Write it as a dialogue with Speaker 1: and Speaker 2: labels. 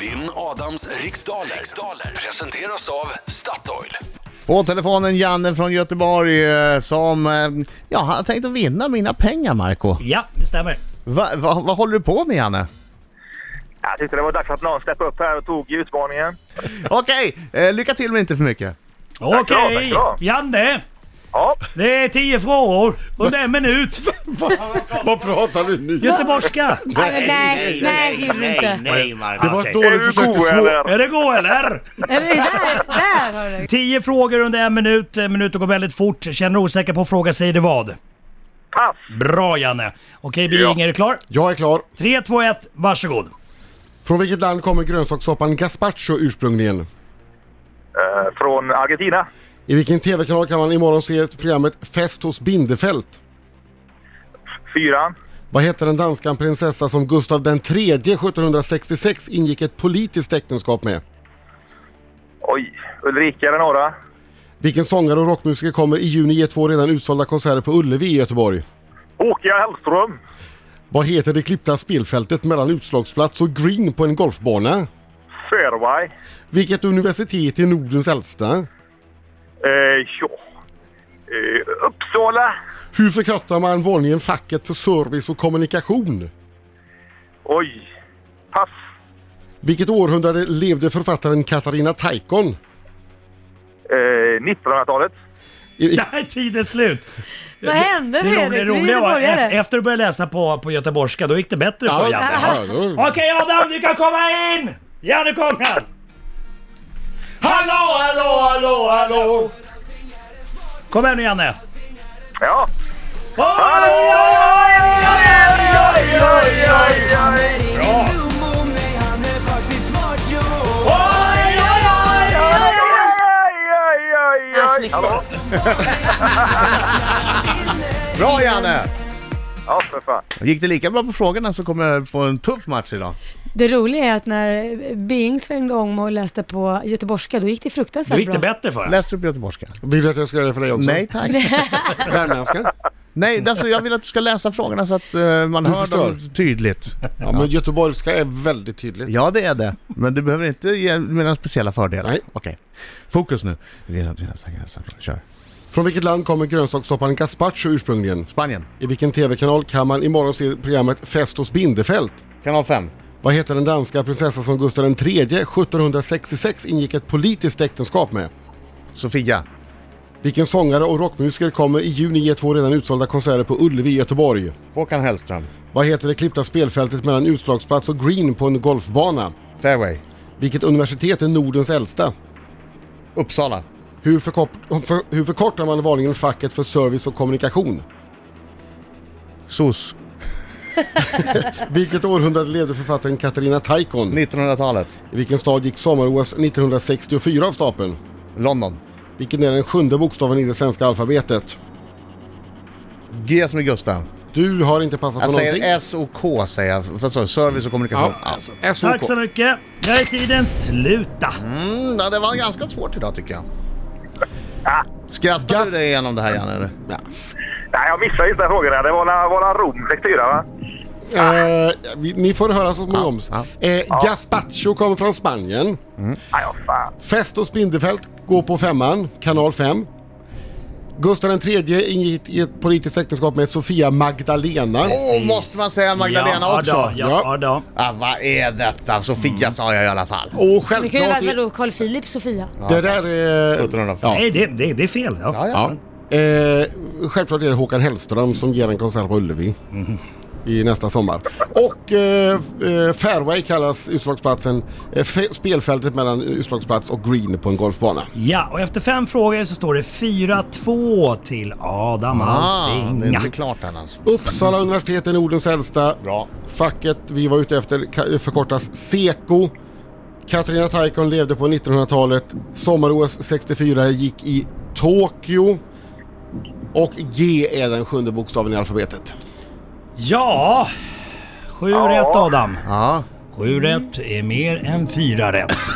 Speaker 1: Vinn Adams riksdaler. riksdaler presenteras av Statoil.
Speaker 2: På telefonen Janne från Göteborg eh, som eh, ja, har tänkt att vinna mina pengar Marco.
Speaker 3: Ja, det stämmer.
Speaker 2: Va, va, vad håller du på med Janne?
Speaker 4: Jag tyckte det var dags att någon steppade upp här och tog utmaningen.
Speaker 2: Okej, eh, lycka till men inte för mycket.
Speaker 4: bra, tack
Speaker 3: Okej,
Speaker 4: bra.
Speaker 3: Janne.
Speaker 4: Ja,
Speaker 3: Det är tio frågor under en minut.
Speaker 5: Vad pratar du nu?
Speaker 3: Göteborgska.
Speaker 6: Nej, men nej, nej, det gjorde du inte.
Speaker 2: nej
Speaker 5: Det var
Speaker 3: Okej.
Speaker 5: ett
Speaker 4: är
Speaker 5: dåligt
Speaker 4: du
Speaker 5: försök
Speaker 4: god
Speaker 5: till små...
Speaker 4: eller?
Speaker 3: Är det god eller?
Speaker 6: Är det där? Där har du.
Speaker 3: Tio frågor under en minut. En minut går väldigt fort. Känner du osäker på fråga säger du vad.
Speaker 4: Pass!
Speaker 3: Bra Janne. Okej Birging, är du klar?
Speaker 5: Jag är klar.
Speaker 3: 3, 2, 1, varsågod.
Speaker 5: Från vilket land kommer grönsakssoppan gazpacho ursprungligen?
Speaker 4: Eh, från Argentina.
Speaker 5: I vilken TV-kanal kan man imorgon se programmet Fest hos Bindefält?
Speaker 4: Fyran.
Speaker 5: Vad heter den danska prinsessa som Gustav den III 1766 ingick ett politiskt äktenskap med?
Speaker 4: Oj, Ulrika eller några.
Speaker 5: Vilken sångare och rockmusiker kommer i juni ge två redan utsålda konserter på Ullevi i Göteborg?
Speaker 4: Håkan Hellström.
Speaker 5: Vad heter det klippta spelfältet mellan utslagsplats och green på en golfbana?
Speaker 4: Fairway.
Speaker 5: Vilket universitet är Nordens äldsta?
Speaker 4: Eh, ja. Eh, Uppsala.
Speaker 5: Hur förkortar man vanligen facket för service och kommunikation?
Speaker 4: Oj. Pass.
Speaker 5: Vilket århundrade levde författaren Katarina Taikon?
Speaker 4: Eh, 1900-talet.
Speaker 3: Där är tiden slut.
Speaker 6: Vad hände
Speaker 3: Det roliga,
Speaker 6: Fredrik? Du är
Speaker 3: roliga var e-
Speaker 6: göteborgare.
Speaker 3: efter du började läsa på, på göteborgska, då gick det bättre för Janne.
Speaker 5: ja.
Speaker 3: Okej Adam, du kan komma in! Ja, nu kommer han!
Speaker 5: Hallå, hallå, hallå, hallå!
Speaker 3: Kom igen nu Janne!
Speaker 4: Ja. Aj, aj, aj,
Speaker 6: Ja,
Speaker 4: aj.
Speaker 6: snyggt.
Speaker 4: Hallå?
Speaker 2: Bra Janne!
Speaker 4: Ja, för fan.
Speaker 2: Gick det lika bra på frågorna så kommer jag få en tuff match idag.
Speaker 6: Det roliga är att när Bing svängde om och läste på göteborgska, då gick det fruktansvärt
Speaker 3: Då gick det
Speaker 6: bra.
Speaker 3: bättre för dig.
Speaker 2: Läste du på göteborgska?
Speaker 5: Vill du att jag ska göra det för dig också?
Speaker 2: Nej tack.
Speaker 5: Värmländska?
Speaker 2: Nej, alltså, jag vill att du ska läsa frågorna så att eh, man
Speaker 5: Du
Speaker 2: hör dem
Speaker 5: förstår.
Speaker 2: tydligt.
Speaker 5: Ja, men göteborgska är väldigt tydligt.
Speaker 2: Ja, det är det. Men det behöver inte ge mig några speciella fördelar.
Speaker 5: Nej.
Speaker 2: Okej. Fokus nu. Vi är- vi är- Kör.
Speaker 5: Från vilket land kommer grönsakssoppan gazpacho ursprungligen?
Speaker 2: Spanien.
Speaker 5: I vilken TV-kanal kan man imorgon se programmet Fest hos Bindefält?
Speaker 2: Kanal 5.
Speaker 5: Vad heter den danska prinsessa som Gustav III 1766 ingick ett politiskt äktenskap med?
Speaker 2: Sofia.
Speaker 5: Vilken sångare och rockmusiker kommer i juni ge två redan utsålda konserter på Ullevi i Göteborg?
Speaker 2: Håkan Hellström.
Speaker 5: Vad heter det klippta spelfältet mellan utslagsplats och green på en golfbana?
Speaker 2: Fairway.
Speaker 5: Vilket universitet är Nordens äldsta?
Speaker 2: Uppsala.
Speaker 5: Hur, förkort- för, hur förkortar man vanligen facket för service och kommunikation?
Speaker 2: SOS.
Speaker 5: Vilket århundrade levde författaren Katarina Taikon?
Speaker 2: 1900-talet.
Speaker 5: I vilken stad gick sommar-OS 1964 av stapeln?
Speaker 2: London.
Speaker 5: Vilken är den sjunde bokstaven i det svenska alfabetet?
Speaker 2: G som i Gustav.
Speaker 5: Du har inte passat
Speaker 2: Jag
Speaker 5: på
Speaker 2: säger
Speaker 5: någonting.
Speaker 2: S och K säger jag. Fast så, service och kommunikation. Alltså,
Speaker 5: Ja,
Speaker 2: Ja.
Speaker 3: Tack så
Speaker 5: SOK.
Speaker 3: mycket. Nu är tiden sluta.
Speaker 2: Mm, ja, det var ganska svårt idag tycker jag. Ah. Skrattar du dig igenom det här Janne? eller?
Speaker 4: Nej, jag missade inte frågorna. Det var la- var la Rom 64, va?
Speaker 5: Eh, vi- ni får höra så småningom.
Speaker 2: Ja,
Speaker 5: Eh, gazpacho kommer från Spanien.
Speaker 4: Nej, ja, fan.
Speaker 5: Fest och Spindelfält går på femman, kanal 5. Gustav III ingick i ett politiskt äktenskap med Sofia Magdalena.
Speaker 2: Åh, måste man säga Magdalena
Speaker 3: ja,
Speaker 2: också?
Speaker 3: Då, ja, ja.
Speaker 5: Ja.
Speaker 3: Då.
Speaker 2: Ah, vad är detta? Sofia sa jag i alla fall.
Speaker 3: Mm.
Speaker 5: Och
Speaker 6: Det kunde ju
Speaker 5: självklart...
Speaker 6: varit vadå, Carl Philip, Sofia?
Speaker 5: det där är...
Speaker 2: 1705.
Speaker 5: Ja.
Speaker 3: Nej, det, det, det är fel. Ja.
Speaker 2: Ja, ja.
Speaker 5: Ja. Eh, självklart är det Håkan Hellström som ger en konsert på Ullevi. I nästa sommar. Och eh, eh, Fairway kallas utslagsplatsen, eh, fe- spelfältet mellan utslagsplats och green på en golfbana.
Speaker 3: Ja, och efter fem frågor så står det 4-2 till Adam
Speaker 2: Ah, det är
Speaker 3: Alsinga.
Speaker 2: inte klart än alltså.
Speaker 5: Uppsala universitet är Nordens äldsta.
Speaker 2: Bra.
Speaker 5: Facket vi var ute efter ka- förkortas SEKO. Katarina Taikon levde på 1900-talet. Sommar-OS 64 gick i Tokyo. Och G är den sjunde bokstaven i alfabetet.
Speaker 3: Ja, 7
Speaker 4: Ja.
Speaker 3: rätt Adam.
Speaker 2: Ja.
Speaker 3: 7 rätt är mer än 4 rätt.